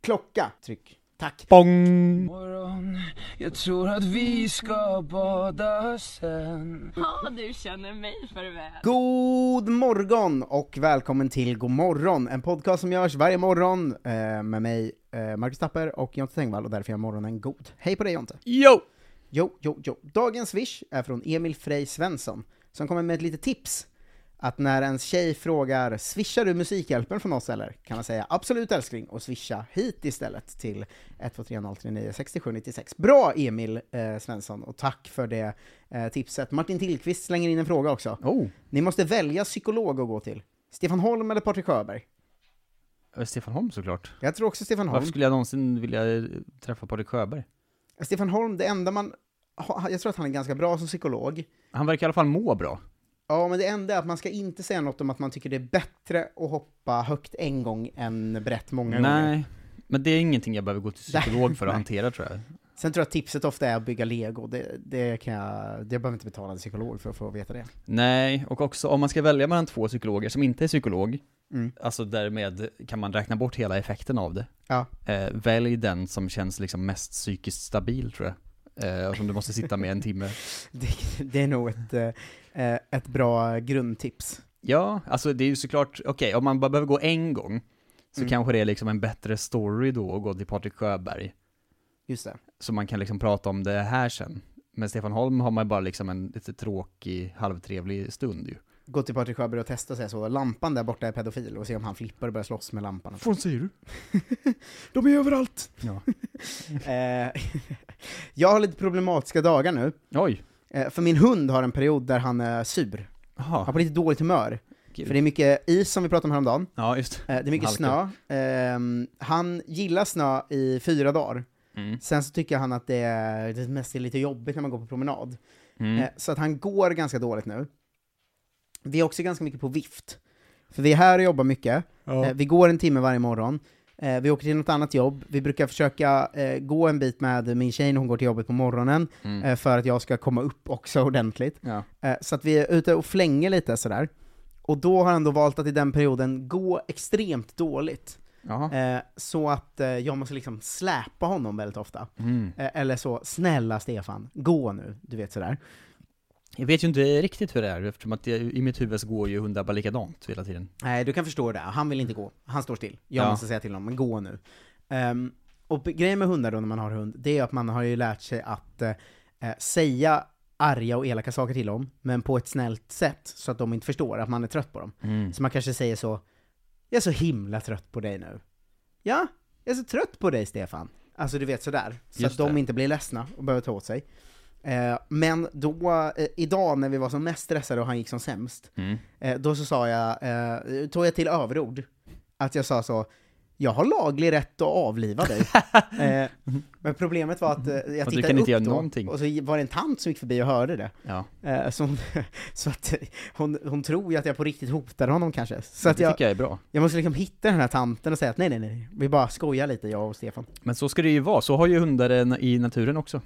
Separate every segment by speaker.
Speaker 1: Klocka. Tryck. Tack.
Speaker 2: Bong!
Speaker 3: morgon Jag tror att vi ska bada sen
Speaker 4: Ja, du känner mig för väl.
Speaker 1: God morgon och välkommen till God morgon, en podcast som görs varje morgon eh, med mig, eh, Marcus Tapper och Jonte Tengvall och därför är morgonen god. Hej på dig Jonte!
Speaker 2: Yo!
Speaker 1: Jo, jo, jo. Dagens swish är från Emil Frey Svensson, som kommer med ett litet tips. Att när ens tjej frågar “swishar du Musikhjälpen från oss eller?” kan man säga “absolut älskling” och swisha hit istället till 123-039-6796. Bra Emil eh, Svensson, och tack för det eh, tipset. Martin Tillqvist slänger in en fråga också. Ni måste välja psykolog att gå till. Stefan Holm eller Patrik Sjöberg?
Speaker 5: Eh, Stefan Holm såklart.
Speaker 1: Jag tror också Stefan Holm.
Speaker 5: Varför skulle jag någonsin vilja eh, träffa Patrik Sjöberg?
Speaker 1: Stefan Holm, det enda man... ha- Jag tror att han är ganska bra som psykolog.
Speaker 5: Han verkar i alla fall må bra.
Speaker 1: Ja, men det enda är att man ska inte säga något om att man tycker det är bättre att hoppa högt en gång än brett många gånger.
Speaker 5: Nej, men det är ingenting jag behöver gå till
Speaker 1: Nej,
Speaker 5: psykolog för att
Speaker 1: Mm. nej.
Speaker 5: hantera tror jag.
Speaker 1: Sen tror jag att tipset ofta är att bygga lego. Det, det kan jag... Det behöver inte betala en psykolog för att få veta det.
Speaker 5: Nej, och också om man ska välja mellan två psykologer som inte är psykolog,
Speaker 1: Mm.
Speaker 5: alltså därmed kan man räkna bort hela effekten av det.
Speaker 1: Ja.
Speaker 5: Eh, välj den som känns liksom mest psykiskt stabil tror jag. Eh, och som du måste sitta med en timme.
Speaker 1: Det, det är nog ett, eh, eh, ett bra grundtips.
Speaker 5: Ja, alltså det är ju såklart, okej, om man bara behöver gå en gång, så
Speaker 1: Mm.
Speaker 5: kanske det är liksom en bättre story då att gå till Patrik Sjöberg.
Speaker 1: Just det.
Speaker 5: så man kan liksom prata om det här sen. Med Stefan Holm har man ju bara liksom en lite tråkig, halvtrevlig stund ju.
Speaker 1: Gå till Patrik Sjöberg och testa sig så. Lampan där borta är pedofil och se om han flippar och börjar slåss med lampan.
Speaker 5: fan säger du?
Speaker 1: De är överallt!
Speaker 5: Ja.
Speaker 1: Eh, jag har lite problematiska dagar nu.
Speaker 5: Oj!
Speaker 1: Eh, För min hund har en period där han är sur. Han har
Speaker 5: Jaha.
Speaker 1: på lite dåligt humör. För det är mycket is som vi pratade om häromdagen.
Speaker 5: Ja, just
Speaker 1: Eh, Det är mycket
Speaker 5: Halka.
Speaker 1: snö. Ehm, han gillar snö i fyra dagar.
Speaker 5: Mm.
Speaker 1: Sen så tycker han att det, är, det mest är lite jobbigt när man går på promenad.
Speaker 5: Mm.
Speaker 1: Eh, Så att han går ganska dåligt nu. Vi är också ganska mycket på vift. För vi är här och jobbar mycket. Eh, Vi går en timme varje morgon. Eh, Vi åker till något annat jobb. Vi brukar försöka eh, gå en bit med min tjej när hon går till jobbet på morgonen,
Speaker 5: Mm.
Speaker 1: eh, för att jag ska komma upp också ordentligt.
Speaker 5: Ja.
Speaker 1: Eh, Så att vi är ute och flänger lite sådär. Och då har han då valt att i den perioden gå extremt dåligt.
Speaker 5: Jaha.
Speaker 1: Eh, Så att eh, jag måste liksom släpa honom väldigt ofta.
Speaker 5: Mm.
Speaker 1: Eh, Eller så, snälla Stefan, gå nu. Du vet sådär.
Speaker 5: Jag vet ju inte riktigt hur det är, eftersom att jag, i mitt huvud så går ju hundar bara likadant hela tiden.
Speaker 1: Nej, du kan förstå det. Han vill inte gå. Han står still. Jag
Speaker 5: Ja.
Speaker 1: måste säga till honom, men gå nu. Ehm, och be- grejen med hundar då när man har hund, det är att man har ju lärt sig att eh, eh, säga arga och elaka saker till dem, men på ett snällt sätt så att de inte förstår att man är trött på dem.
Speaker 5: Mm.
Speaker 1: Så man kanske säger så, jag är så himla trött på dig nu. Ja, jag är så trött på dig Stefan. Alltså du vet sådär. Så
Speaker 5: Just
Speaker 1: att de
Speaker 5: det.
Speaker 1: inte blir ledsna och behöver ta åt sig. Eh, men då, eh, idag när vi var som mest stressade och han gick som sämst,
Speaker 5: Mm.
Speaker 1: eh, då så sa jag, eh, tog jag till överord. Att jag sa så, jag har laglig rätt att avliva dig. eh, men problemet var att eh, jag
Speaker 5: du
Speaker 1: tittade
Speaker 5: kan inte
Speaker 1: upp
Speaker 5: göra
Speaker 1: då,
Speaker 5: någonting.
Speaker 1: och så var det en tant som gick förbi och hörde det.
Speaker 5: Ja,
Speaker 1: Eh, så hon, så att, eh, hon, hon tror ju att jag på riktigt hotar honom kanske. Så att
Speaker 5: det
Speaker 1: jag,
Speaker 5: tycker jag är bra.
Speaker 1: jag måste liksom hitta den här tanten och säga att nej, nej, nej, vi bara skojar lite jag och Stefan.
Speaker 5: Men så ska det ju vara, så har ju hundar en- i naturen också.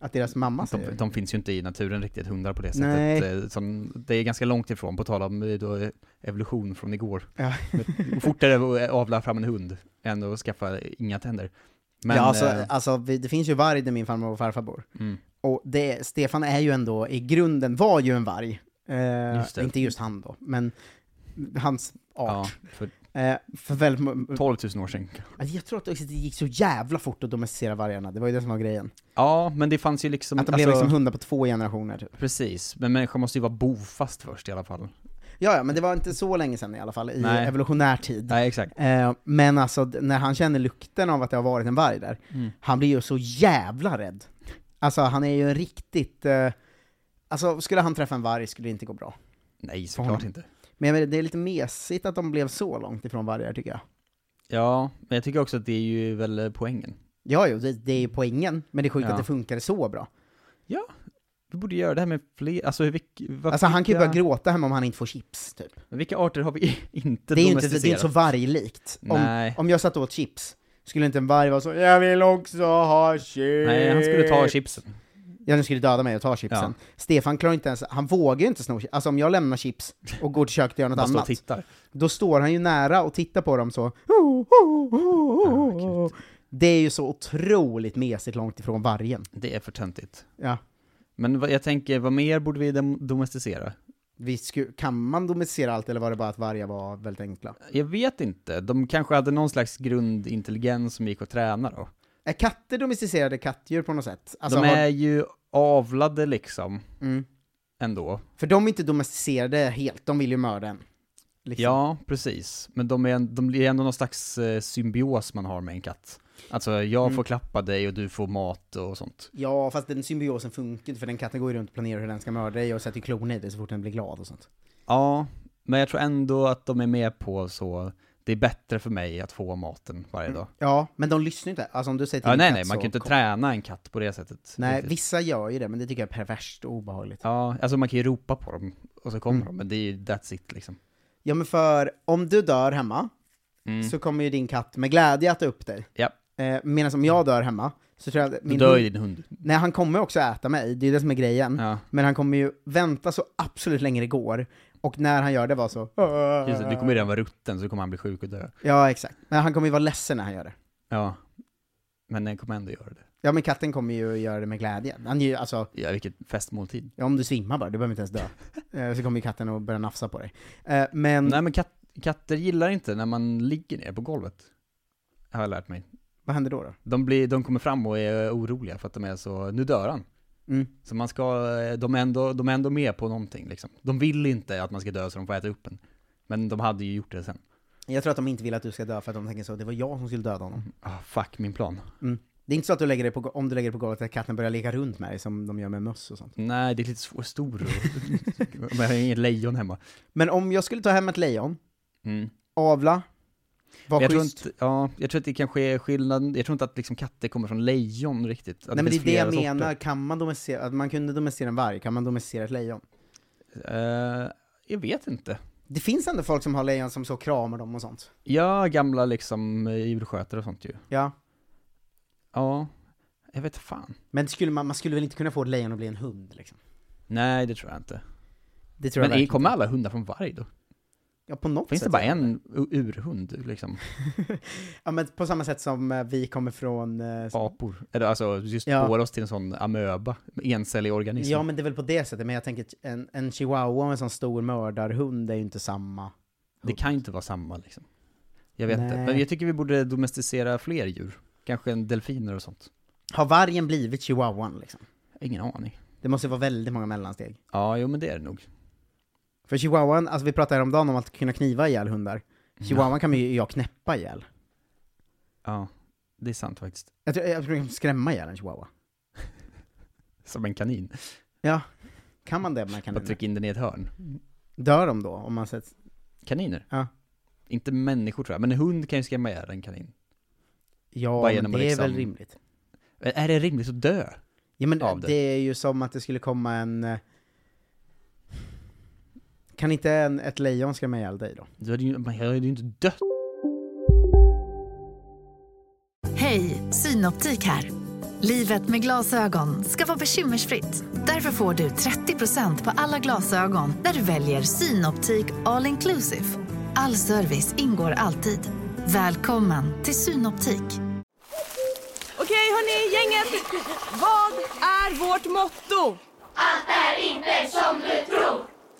Speaker 1: Att deras mamma säger
Speaker 5: De, de finns ju inte i naturen riktigt, hundar på det
Speaker 1: Alltså, Nej.
Speaker 5: sättet. eh, Som, det är ganska långt ifrån, på tal om eh, då, evolution från igår.
Speaker 1: Ja.
Speaker 5: fortare att eh, avla fram en hund än att skaffa inga tänder. Men,
Speaker 1: ja, alltså,
Speaker 5: eh,
Speaker 1: alltså, vi, det finns ju varg där min farmor och farfar bor.
Speaker 5: mm,
Speaker 1: Och det, Stefan är ju ändå, i grunden, var ju en varg. Eh,
Speaker 5: Just det.
Speaker 1: inte just han då, men hans
Speaker 5: Ja,
Speaker 1: art.
Speaker 5: för
Speaker 1: Eh, för väldigt, må-
Speaker 5: 12 000 år sedan.
Speaker 1: Alltså, jag tror att det också- det gick så jävla fort att domesticera vargarna, det var ju det som var grejen.
Speaker 5: Ja, men det fanns ju liksom...
Speaker 1: Att de blev liksom hundar på två generationer typ.
Speaker 5: Precis, men människan måste ju vara bofast först i alla fall.
Speaker 1: Ja, ja, men det var inte så länge sedan i alla fall, i
Speaker 5: Nej.
Speaker 1: evolutionär tid.
Speaker 5: Nej, exakt.
Speaker 1: Eh, men alltså, d- när han känner lukten av att det har varit en varg där,
Speaker 5: Mm.
Speaker 1: han blir ju så jävla rädd. Alltså han är ju en riktigt... Eh, alltså skulle han träffa en varg skulle det inte gå bra.
Speaker 5: Nej,
Speaker 1: honom.
Speaker 5: såklart inte.
Speaker 1: Men jag menar, det är lite mesigt att de blev så långt ifrån vargar tycker jag.
Speaker 5: Ja, men jag tycker också att det är ju väl eh, poängen.
Speaker 1: Ja, jo, det, det är ju poängen, men det är sjukt
Speaker 5: Ja.
Speaker 1: att det funkade så bra.
Speaker 5: Vi borde göra det här med fler, alltså hur vilk, vad-
Speaker 1: Alltså han kan ju
Speaker 5: vilka-
Speaker 1: börja gråta hemma om han inte får chips, typ.
Speaker 5: Vilka arter har vi inte
Speaker 1: Det är ju inte, det
Speaker 5: domesticerat?
Speaker 1: är inte så varglikt. Om,
Speaker 5: Nej.
Speaker 1: om jag satt åt chips, skulle inte en varg vara så 'Jag vill också ha chips'
Speaker 5: Nej, han skulle ta chipsen.
Speaker 1: Ja, den skulle döda mig och ta chipsen. Stefan klarar inte ens, han vågar ju inte sno chips. Alltså om jag lämnar chips och går till köket och gör något
Speaker 5: Bara stå och
Speaker 1: annat,
Speaker 5: tittar.
Speaker 1: då står han ju nära och tittar på dem så.
Speaker 5: gud.
Speaker 1: det är ju så otroligt mesigt långt ifrån vargen.
Speaker 5: Det är för töntigt.
Speaker 1: Ja.
Speaker 5: Men vad, jag tänker, vad mer borde vi dom- domesticera?
Speaker 1: Vi sku, kan man domesticera allt eller var det bara att vargar var väldigt enkla?
Speaker 5: Jag vet inte, de kanske hade någon slags grundintelligens som gick att träna då.
Speaker 1: Är katter domesticerade kattdjur på något sätt? Alltså,
Speaker 5: de
Speaker 1: har-
Speaker 5: är ju avlade liksom,
Speaker 1: Mm.
Speaker 5: ändå.
Speaker 1: För de är inte domesticerade helt, de vill ju mörda en. Liksom.
Speaker 5: Ja, precis. Men de är, en- de är ändå någon slags eh, symbios man har med en katt. Alltså, jag
Speaker 1: Mm.
Speaker 5: får klappa dig och du får mat och sånt.
Speaker 1: Ja, fast den symbiosen funkar inte för den katten går ju runt och planerar hur den ska mörda dig och sätter klon i dig så fort den blir glad och sånt.
Speaker 5: Ja, men jag tror ändå att de är med på så, det är bättre för mig att få maten varje dag.
Speaker 1: Ja, men de lyssnar ju inte. Alltså om du säger till
Speaker 5: Ja,
Speaker 1: en
Speaker 5: nej,
Speaker 1: katt
Speaker 5: nej, man
Speaker 1: så
Speaker 5: kan ju inte
Speaker 1: kom-
Speaker 5: träna en katt på det sättet.
Speaker 1: Nej,
Speaker 5: riktigt.
Speaker 1: vissa gör ju det, men det tycker jag är perverst och obehagligt. Ja.
Speaker 5: Ja, alltså man kan ju ropa på dem och så kommer
Speaker 1: Mm.
Speaker 5: de, men det är ju that's it liksom.
Speaker 1: men för om du dör hemma,
Speaker 5: Mm.
Speaker 1: så kommer ju din katt med glädje att äta upp dig.
Speaker 5: Ja,
Speaker 1: Eh, Medan om jag dör hemma, så tror jag att
Speaker 5: då
Speaker 1: min
Speaker 5: dör
Speaker 1: hund- Mm.
Speaker 5: ju din hund.
Speaker 1: Nej, han kommer också äta mig, det är det som är grejen.
Speaker 5: Ja.
Speaker 1: Men han kommer ju vänta så absolut länge det går, och när han gör det var så...
Speaker 5: Just det, du kommer ju redan vara rutten, så kommer han bli sjuk och dö.
Speaker 1: Ja, exakt. Men han kommer ju vara ledsen när han gör det.
Speaker 5: Ja. Men den kommer ändå göra det.
Speaker 1: Ja, men katten kommer ju göra det med glädje. Han är ju, alltså,
Speaker 5: Ja, vilket festmåltid.
Speaker 1: ja, om du svimmar bara, du behöver inte ens dö. Eh, så kommer ju katten att börja nafsa på dig. Eh, men,
Speaker 5: Nej men kat katter gillar inte när man ligger ner på golvet. Har jag lärt mig.
Speaker 1: vad händer då? då?
Speaker 5: De, blir, de kommer fram och är oroliga för att de är så, nu dör han.
Speaker 1: Mm.
Speaker 5: Så man ska, de är, ändå, de är ändå med på någonting liksom. De vill inte att man ska dö så de får äta upp en. Men de hade ju gjort det sen.
Speaker 1: Jag tror att de inte vill att du ska dö för att de tänker så, det var jag som skulle döda honom.
Speaker 5: Ah, fuck min plan.
Speaker 1: Mm. Det är inte så att du lägger dig på, go- om du lägger dig på golvet att katten börjar leka runt med dig som de gör med möss och sånt.
Speaker 5: Nej, det är lite svår, stor. och- Men jag har inget lejon hemma.
Speaker 1: Men om jag skulle ta hem ett lejon,
Speaker 5: Mm.
Speaker 1: avla,
Speaker 5: Men
Speaker 1: vara
Speaker 5: Jag tror,
Speaker 1: schysst.
Speaker 5: inte, ja, jag tror att det kanske är skillnad, jag tror inte att liksom katter kommer från lejon riktigt. Att
Speaker 1: Nej men det är
Speaker 5: finns
Speaker 1: det jag
Speaker 5: flera sorter.
Speaker 1: menar, kan man domesticera, att man kunde domesticera en varg, kan man domesticera ett lejon?
Speaker 5: Eh, jag vet inte.
Speaker 1: Det finns ändå folk som har lejon som så kramar dem och sånt.
Speaker 5: Ja, gamla liksom eh, djurskötare och sånt ju.
Speaker 1: Ja.
Speaker 5: Ja, jag vet fan.
Speaker 1: Men skulle man, man skulle väl inte kunna få ett lejon att bli en hund liksom?
Speaker 5: Nej, det tror jag inte.
Speaker 1: Det tror
Speaker 5: Men
Speaker 1: jag
Speaker 5: är,
Speaker 1: verkligen.
Speaker 5: kommer alla hundar från varg då?
Speaker 1: Ja, på något
Speaker 5: Finns
Speaker 1: sätt
Speaker 5: det bara
Speaker 1: så är
Speaker 5: en u- urhund liksom?
Speaker 1: Ja, men på samma sätt som eh, vi kommer från... eh,
Speaker 5: Apor? Eller alltså, just
Speaker 1: Ja.
Speaker 5: spår oss till en sån amöba, encellig organism.
Speaker 1: Ja, men det är väl på det sättet, men jag tänker att en, en chihuahua och en sån stor mördarhund är ju inte samma.
Speaker 5: Det kan ju inte vara samma liksom. Jag vet inte,
Speaker 1: Nej.
Speaker 5: men jag tycker vi borde domesticera fler djur. Kanske en delfiner och sånt.
Speaker 1: Har vargen blivit chihuahuan liksom?
Speaker 5: Ingen aning.
Speaker 1: Det måste ju vara väldigt många mellansteg.
Speaker 5: Ja, jo men det är det nog.
Speaker 1: För chihuahuan, alltså vi pratade häromdagen om att kunna kniva ihjäl hundar. Chihuahuan kan ju jag knäppa ihjäl.
Speaker 5: Ja, det är sant faktiskt.
Speaker 1: Jag tror jag tror jag kan skrämma ihjäl en chihuahua.
Speaker 5: Som en kanin.
Speaker 1: Ja. Kan man det med
Speaker 5: Bara
Speaker 1: kaniner?
Speaker 5: trycka in den i ett hörn.
Speaker 1: Dör de då? Om man sätter...
Speaker 5: Kaniner?
Speaker 1: Ja.
Speaker 5: Inte människor tror jag, men en hund kan ju skrämma ihjäl en kanin.
Speaker 1: Ja,
Speaker 5: Bara
Speaker 1: men
Speaker 5: genom
Speaker 1: det
Speaker 5: att
Speaker 1: är
Speaker 5: liksom-
Speaker 1: väl rimligt.
Speaker 5: Ä- Är det rimligt att dö?
Speaker 1: Ja men
Speaker 5: av det.
Speaker 1: det är ju som att det skulle komma en... eh, Kan inte en, ett lejon skrämma ihjäl dig då?
Speaker 5: Du hade ju, man hade ju inte dött.
Speaker 6: Hej, Synoptik här. Livet med glasögon ska vara bekymmersfritt. Därför får du 30% på alla glasögon när du väljer Synoptik All Inclusive. All service ingår alltid. Välkommen till Synoptik.
Speaker 4: Okej hörni, gänget! Vad är vårt motto?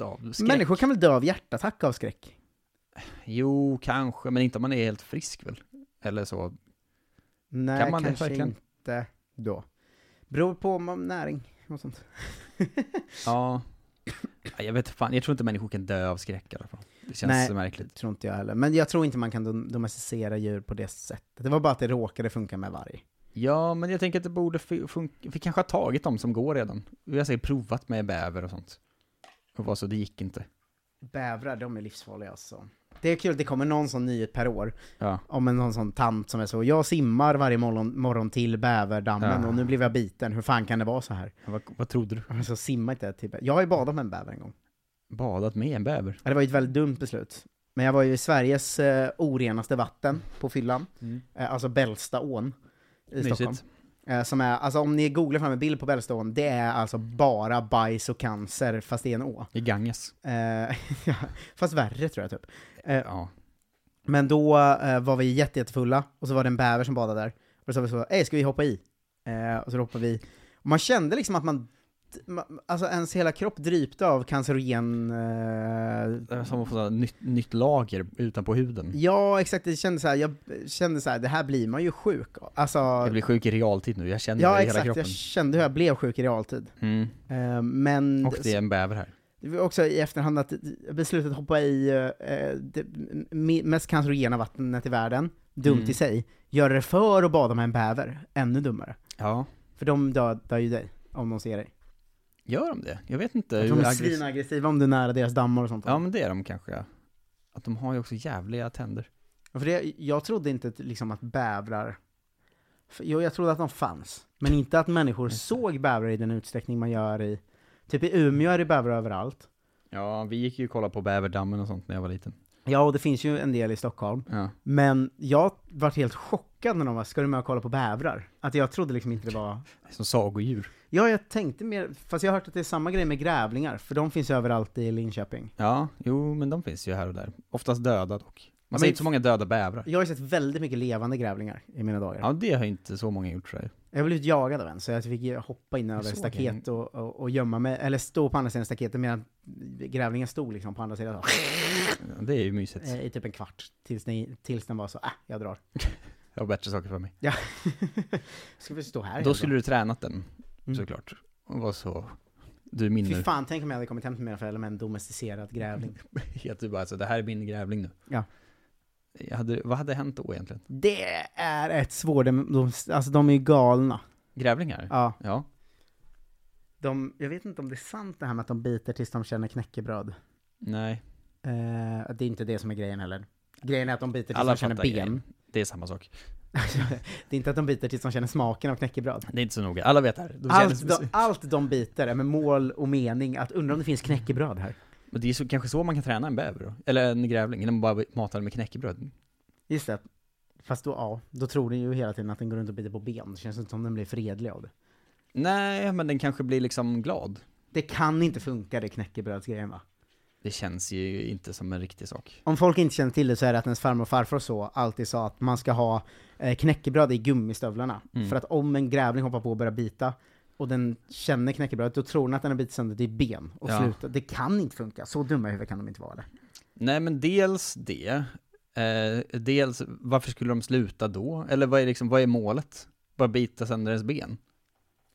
Speaker 5: Av skräck.
Speaker 1: Människor kan väl dö av hjärtattack av skräck?
Speaker 5: Jo, kanske, men inte om man är helt frisk väl? Eller så.
Speaker 1: Nej,
Speaker 5: Kan man det
Speaker 1: kanske
Speaker 5: verkligen?
Speaker 1: inte då. Beror på om man näring och sånt.
Speaker 5: Ja. Ja, Jag vet fan, jag tror inte människor kan dö av skräck i alla fall. Det känns
Speaker 1: Nej.
Speaker 5: så märkligt.
Speaker 1: Tror inte jag heller. Men jag tror inte man kan dom- domesticera djur på det sättet. Det var bara att det råkade funka med varg.
Speaker 5: Ja, men jag tänker att det borde fu- funka. Vi kanske har tagit dem som går redan. Vi har säkert provat med bäver och sånt. Och vad så, det gick inte.
Speaker 1: Bävrar, de är livsfarliga alltså. Det är kul att det kommer någon sån nyhet per år.
Speaker 5: Ja.
Speaker 1: Om en någon sån tant som är så, jag simmar varje morgon, morgon till bäverdammen
Speaker 5: Ja.
Speaker 1: och nu blev jag biten, hur fan kan det vara så här?
Speaker 5: Vad, vad trodde du?
Speaker 1: Alltså simma inte till bäver. Jag har ju badat med en bäver en gång.
Speaker 5: Badat med en bäver?
Speaker 1: Ja, Det var ju ett väldigt dumt beslut. Men jag var ju i Sveriges eh, orenaste vatten på fyllan, eh, alltså Bällstaån i Stockholm. Eh, som är, alltså om ni googlar fram en bild på Bällstaån, det är alltså bara bajs och cancer fast i en å.
Speaker 5: I Ganges.
Speaker 1: Eh, ja, fast värre tror jag typ. Eh,
Speaker 5: Ja.
Speaker 1: Men då eh, var vi jätte, jättefulla, och så var det en bäver som badade där. Och då sa vi så, ey ska vi hoppa i? Eh, och så hoppade vi. Och man kände liksom att man, man alltså ens hela kropp drypte av cancerogen... Eh,
Speaker 5: Det är Som att få ett nytt, nytt lager utanpå huden.
Speaker 1: ja, exakt, det kändes så här, jag kände så här, det här blir man ju sjuk av. Alltså,
Speaker 5: Jag blir sjuk i realtid nu, jag känner
Speaker 1: ja
Speaker 5: det i hela
Speaker 1: exakt,
Speaker 5: kroppen.
Speaker 1: jag kände hur jag blev sjuk i realtid.
Speaker 5: Mm.
Speaker 1: Eh, men...
Speaker 5: Och det är en bäver här.
Speaker 1: Det var också i efterhand att beslutet att hoppa i eh, det me- mest cancerogena vattnet i världen, dumt
Speaker 5: Mm.
Speaker 1: i sig. Gör det för att bada med en bäver, ännu dummare.
Speaker 5: Ja.
Speaker 1: För de dödar ju dig om de ser dig.
Speaker 5: Gör de det? Jag vet inte.
Speaker 1: De
Speaker 5: hur
Speaker 1: är
Speaker 5: aggress-
Speaker 1: svinaggressiva om du är nära deras dammar och sånt.
Speaker 5: Ja men det är de kanske. ja. Att de har ju också jävliga tänder.
Speaker 1: För det, jag trodde inte att, liksom att bävrar... för- Jo, jag trodde att de fanns. Men inte att människor såg bävrar i den utsträckning man gör i... Typ i Umeå är det bävrar överallt.
Speaker 5: Ja, vi gick ju och kollade på bäverdammen och sånt när jag var liten.
Speaker 1: Ja, och det finns ju en del i Stockholm.
Speaker 5: Ja.
Speaker 1: Men jag vart helt chockad när de var ska du med och kolla på bävrar? Att jag trodde liksom inte det var...
Speaker 5: Som sagodjur.
Speaker 1: Ja, jag tänkte mer, fast jag har hört att det är samma grej med grävlingar, för de finns överallt i Linköping.
Speaker 5: Ja, jo men de finns ju här och där. Oftast döda dock. Man
Speaker 1: men-
Speaker 5: ser inte så många döda bävrar.
Speaker 1: Jag har ju sett väldigt mycket levande grävlingar i mina dagar.
Speaker 5: Ja, det har ju inte så många gjort tror jag.
Speaker 1: Jag blev jagad av en, så jag fick ju hoppa in över
Speaker 5: såg
Speaker 1: staket och, och, och gömma mig, eller stå på andra sidan staketet medan grävlingen stod liksom på andra sidan så,
Speaker 5: Ja, Det är ju mysigt.
Speaker 1: eh, i typ en kvart, tills, den- tills den var så, äh, jag drar.
Speaker 5: Jag har bättre saker för mig.
Speaker 1: Ja. ska vi stå här
Speaker 5: Då
Speaker 1: igen
Speaker 5: skulle du tränat den,
Speaker 1: Mm.
Speaker 5: såklart. Och var så... Du är min
Speaker 1: Fy
Speaker 5: nu.
Speaker 1: fan, tänk om jag hade kommit hem till mina föräldrar med en domesticerad grävling.
Speaker 5: Att du bara alltså, det här är min grävling nu.
Speaker 1: Ja.
Speaker 5: Jag hade, vad hade hänt då egentligen?
Speaker 1: Det är ett svår... De, de, alltså de är ju galna.
Speaker 5: Grävlingar?
Speaker 1: Ja.
Speaker 5: Ja.
Speaker 1: De, jag vet inte om det är sant det här med att de biter tills de känner knäckebröd.
Speaker 5: Nej,
Speaker 1: Eh, det är inte det som är grejen heller. Grejen är att de biter tills
Speaker 5: Alla
Speaker 1: de känner ben.
Speaker 5: fattar grejen. det är samma sak.
Speaker 1: Det är inte att de biter tills de känner smaken av knäckebröd.
Speaker 5: Det är inte så noga, alla vet det här. De
Speaker 1: Allt
Speaker 5: känner-
Speaker 1: de, allt de biter är med mål och mening att undra om det finns knäckebröd här.
Speaker 5: Men det är så, kanske så man kan träna en bäver då? Eller en grävling, när man bara matar den med knäckebröd.
Speaker 1: Just det. Fast då, ja, då tror den ju hela tiden att den går runt och biter på ben. Det känns inte som den blir fredlig av det.
Speaker 5: Nej, men den kanske blir liksom glad.
Speaker 1: Det kan inte funka det knäckebrödsgrejen va?
Speaker 5: Det känns ju inte som en riktig sak.
Speaker 1: Om folk inte känner till det så är det att ens farmor och farfar och så alltid sa att man ska ha eh, knäckebröd i gummistövlarna. För att om en grävling hoppar på och börjar bita, och den känner knäckebrödet, då tror den att den har bitit sönder ditt ben och
Speaker 5: Ja.
Speaker 1: slutar. Det kan inte funka, så dumma i huvudet kan de inte vara. Eller?
Speaker 5: Nej, men dels det. Eh, dels, varför skulle de sluta då? Eller vad är, liksom, vad är målet? Bara bita sönder ens ben?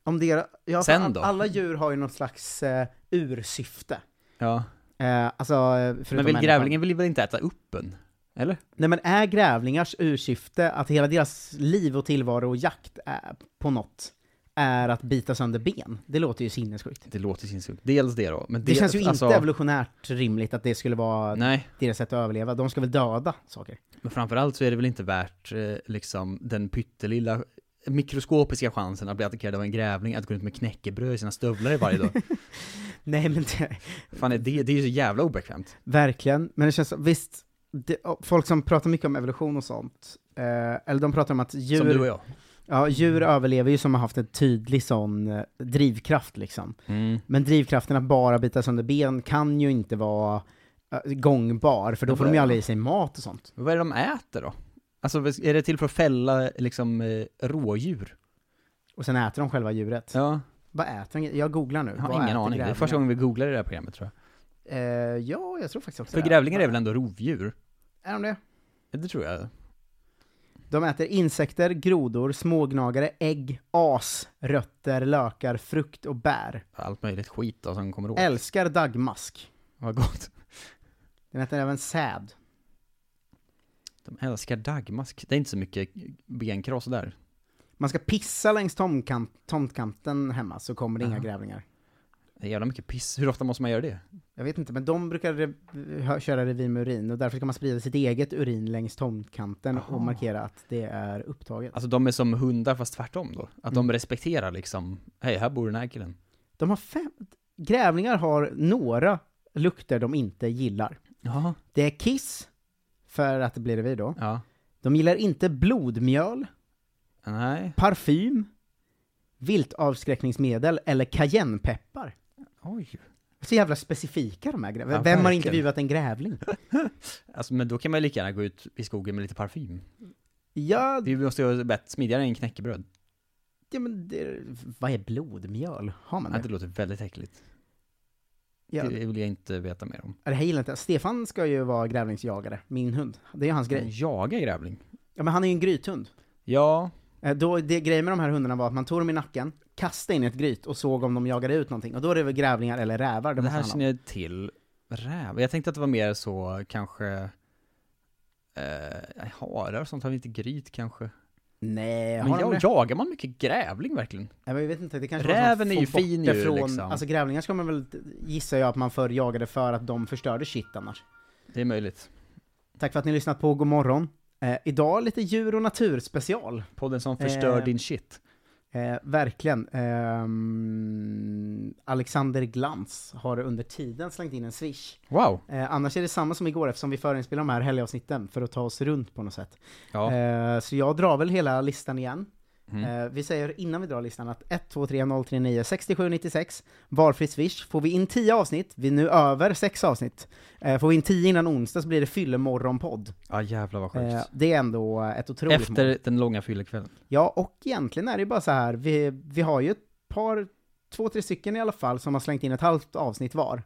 Speaker 1: Om det, ja,
Speaker 5: Sen
Speaker 1: all-
Speaker 5: då?
Speaker 1: Alla djur har ju något slags eh, ursyfte.
Speaker 5: Ja.
Speaker 1: Eh, alltså, eh, förutom
Speaker 5: Men vill
Speaker 1: människan.
Speaker 5: grävlingen vill väl inte äta upp en? Eller?
Speaker 1: Nej men är grävlingars ursyfte att hela deras liv och tillvaro och jakt är, på något är att bita sönder ben? Det låter ju sinnessjukt.
Speaker 5: Det låter sinnessjukt. Dels det då. Men
Speaker 1: Det
Speaker 5: dels,
Speaker 1: känns ju inte
Speaker 5: alltså-
Speaker 1: evolutionärt rimligt att det skulle vara
Speaker 5: Nej,
Speaker 1: deras sätt att överleva. De ska väl döda saker?
Speaker 5: men framförallt så är det väl inte värt eh, liksom den pyttelilla mikroskopiska chansen att bli attackerad av en grävling att gå runt med knäckebröd i sina stövlar varje dag.
Speaker 1: Nej men det,
Speaker 5: Fan, är det, det är ju så jävla obekvämt.
Speaker 1: verkligen, men det känns, visst, det, folk som pratar mycket om evolution och sånt, eh, eller de pratar om att djur...
Speaker 5: Som du och jag.
Speaker 1: Ja, djur överlever ju som har haft en tydlig sån eh, drivkraft liksom. Men drivkraften att bara bita sönder ben kan ju inte vara eh, gångbar, för då får de ju aldrig i sig mat och sånt.
Speaker 5: Vad är det de äter då? Alltså är det till för att fälla liksom eh, rådjur?
Speaker 1: Och sen äter de själva djuret.
Speaker 5: Ja,
Speaker 1: Vad äter de? Jag googlar nu.
Speaker 5: jag har
Speaker 1: Vad
Speaker 5: ingen
Speaker 1: äter
Speaker 5: aning. Det är
Speaker 1: grävlingar?
Speaker 5: första gången vi googlar i det här programmet tror jag.
Speaker 1: Eh, ja, jag tror faktiskt också
Speaker 5: För
Speaker 1: det.
Speaker 5: grävlingar är väl ändå rovdjur?
Speaker 1: Är de det?
Speaker 5: Det tror jag.
Speaker 1: De äter insekter, grodor, smågnagare, ägg, as, rötter, lökar, frukt och bär.
Speaker 5: Allt möjligt skit då som kommer åt.
Speaker 1: Älskar dagmask.
Speaker 5: Vad gott.
Speaker 1: Den äter även säd.
Speaker 5: De älskar dagmask. Det är inte så mycket benkross där.
Speaker 1: Man ska pissa längs tomkant, tomtkanten hemma så kommer det inga grävlingar.
Speaker 5: Det är jävla mycket piss. Hur ofta måste man göra det?
Speaker 1: Jag vet inte, men de brukar re- hö- köra revir med urin och därför ska man sprida sitt eget urin längs tomtkanten och markera att det är upptaget.
Speaker 5: Alltså de är som hundar fast tvärtom då. Att de respekterar liksom, hej här bor den här killen.
Speaker 1: De har fem... Grävlingar har några lukter de inte gillar.
Speaker 5: Jaha.
Speaker 1: Det är kiss, för att det blir revir då.
Speaker 5: Ja.
Speaker 1: De gillar inte blodmjöl,
Speaker 5: Nej.
Speaker 1: parfym, viltavskräckningsmedel eller cayennepeppar.
Speaker 5: Oj.
Speaker 1: Så jävla specifika de här
Speaker 5: Ja,
Speaker 1: grävlingarna. Vem har
Speaker 5: verkligen.
Speaker 1: intervjuat en grävling?
Speaker 5: Alltså men då kan man ju lika gärna gå ut i skogen med lite parfym.
Speaker 1: Ja,
Speaker 5: Det måste ju vara bättre, smidigare än knäckebröd.
Speaker 1: ja men det, vad är blodmjöl? Har man
Speaker 5: Nej, det
Speaker 1: det?
Speaker 5: låter väldigt äckligt.
Speaker 1: Ja,
Speaker 5: Det vill jag inte veta mer om.
Speaker 1: det här gillar jag inte Stefan ska ju vara grävlingsjagare, min hund. Det är ju hans
Speaker 5: Men
Speaker 1: grej.
Speaker 5: Mm. Jaga grävling?
Speaker 1: Ja men han är ju en grythund.
Speaker 5: Ja,
Speaker 1: Eh, Då, det grejen med de här hundarna var att man tog dem i nacken, kastade in i ett gryt och såg om de jagade ut någonting. Och då är det väl grävlingar eller rävar de
Speaker 5: det här
Speaker 1: måste
Speaker 5: känner jag till. Räv? Jag tänkte att det var mer så kanske eh, harar och sånt, har vi inte gryt kanske?
Speaker 1: Nej,
Speaker 5: Men
Speaker 1: har de
Speaker 5: jag,
Speaker 1: det?
Speaker 5: jagar man mycket grävling verkligen?
Speaker 1: Nej, men jag vet inte, det kanske
Speaker 5: Räven
Speaker 1: var
Speaker 5: är ju
Speaker 1: som
Speaker 5: fin
Speaker 1: folk
Speaker 5: ju,
Speaker 1: från,
Speaker 5: liksom.
Speaker 1: Alltså grävlingar ska man väl, gissar jag att man förr jagade för att de förstörde shit annars.
Speaker 5: Det är möjligt.
Speaker 1: Tack för att ni har lyssnat på God morgon. Eh, idag lite djur och natur special.
Speaker 5: Podden som förstör
Speaker 1: Eh,
Speaker 5: din shit.
Speaker 1: Eh, verkligen. Ehm, Alexander Glans har under tiden slängt in en swish.
Speaker 5: Wow!
Speaker 1: Eh, annars är det samma som igår eftersom vi förinspelar de här helgavsnitten för att ta oss runt på något sätt.
Speaker 5: Ja. Mm.
Speaker 1: Eh, så jag drar väl hela listan igen. Eh, vi säger innan vi drar listan att 123039 6796, valfri swish. Får vi in 10 avsnitt, vi är nu över 6 avsnitt. Eh, får vi in 10 innan onsdag så blir det fyllemorgonpodd.
Speaker 5: Ja jävlar vad sjukt.
Speaker 1: Eh, det är ändå ett otroligt mål.
Speaker 5: Efter den långa fyllekvällen.
Speaker 1: Ja, och egentligen är det ju bara så här, vi, vi har ju ett par, två, tre stycken i alla fall som har slängt in ett halvt avsnitt var.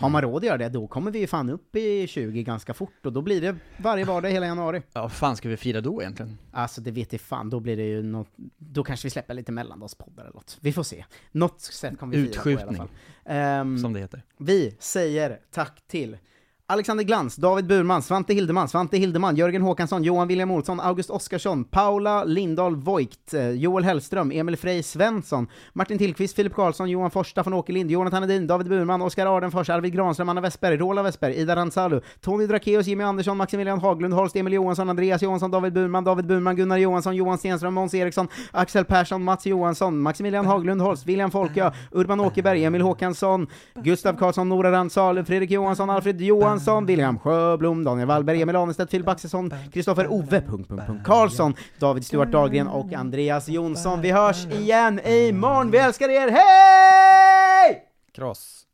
Speaker 1: Har
Speaker 5: Mm.
Speaker 1: man råd att göra det, då kommer vi ju fan upp i 20 ganska fort och då blir det varje vardag hela januari.
Speaker 5: Ja vad fan ska vi fira då egentligen?
Speaker 1: Alltså det vet jag fan, då blir det ju något, då kanske vi släpper lite mellandagspoddar eller något. Vi får se. Något sätt kommer vi fira på i alla
Speaker 5: Utskjutning.
Speaker 1: fall. Ehm,
Speaker 5: Som det heter.
Speaker 1: vi säger tack till Alexander Glans, David Burman, Svante Hildeman, Svante Hildeman, Jörgen Håkansson, Johan William Olsson, August Oskarsson, Paula Lindahl Voigt, eh, Joel Hellström, Emil Frey Svensson, Martin Tillqvist, Filip Karlsson, Johan Forsta från Åkerlind, Jonathan Hedin, David Burman, Oskar Ardenfors, Arvid Granström, Anna Westberg, Rola Westberg, Ida Ransalu, Tony Drakeus, Jimmy Andersson, Maximilian Haglund, Holst, Emil Johansson, Andreas Johansson, David Burman, David Burman, Gunnar Johansson, Johan Stenström, Måns Eriksson, Axel Persson, Mats Johansson, Maximilian Haglund Holst, William Folkö, Urban Åkerberg, Emil Håkansson, Gustav Karlsson, Nora Randsalu, Fredrik Johansson, Alfred Johansson, William Sjöblom, Daniel Wallberg, Emil Ahnestedt, Filip Axelsson, Kristoffer Ove, punkt, punkt, punkt, Karlsson, David Stuart Dahlgren och Andreas Jonsson. Vi hörs igen imorgon. Vi älskar er. Hej!
Speaker 5: Kross.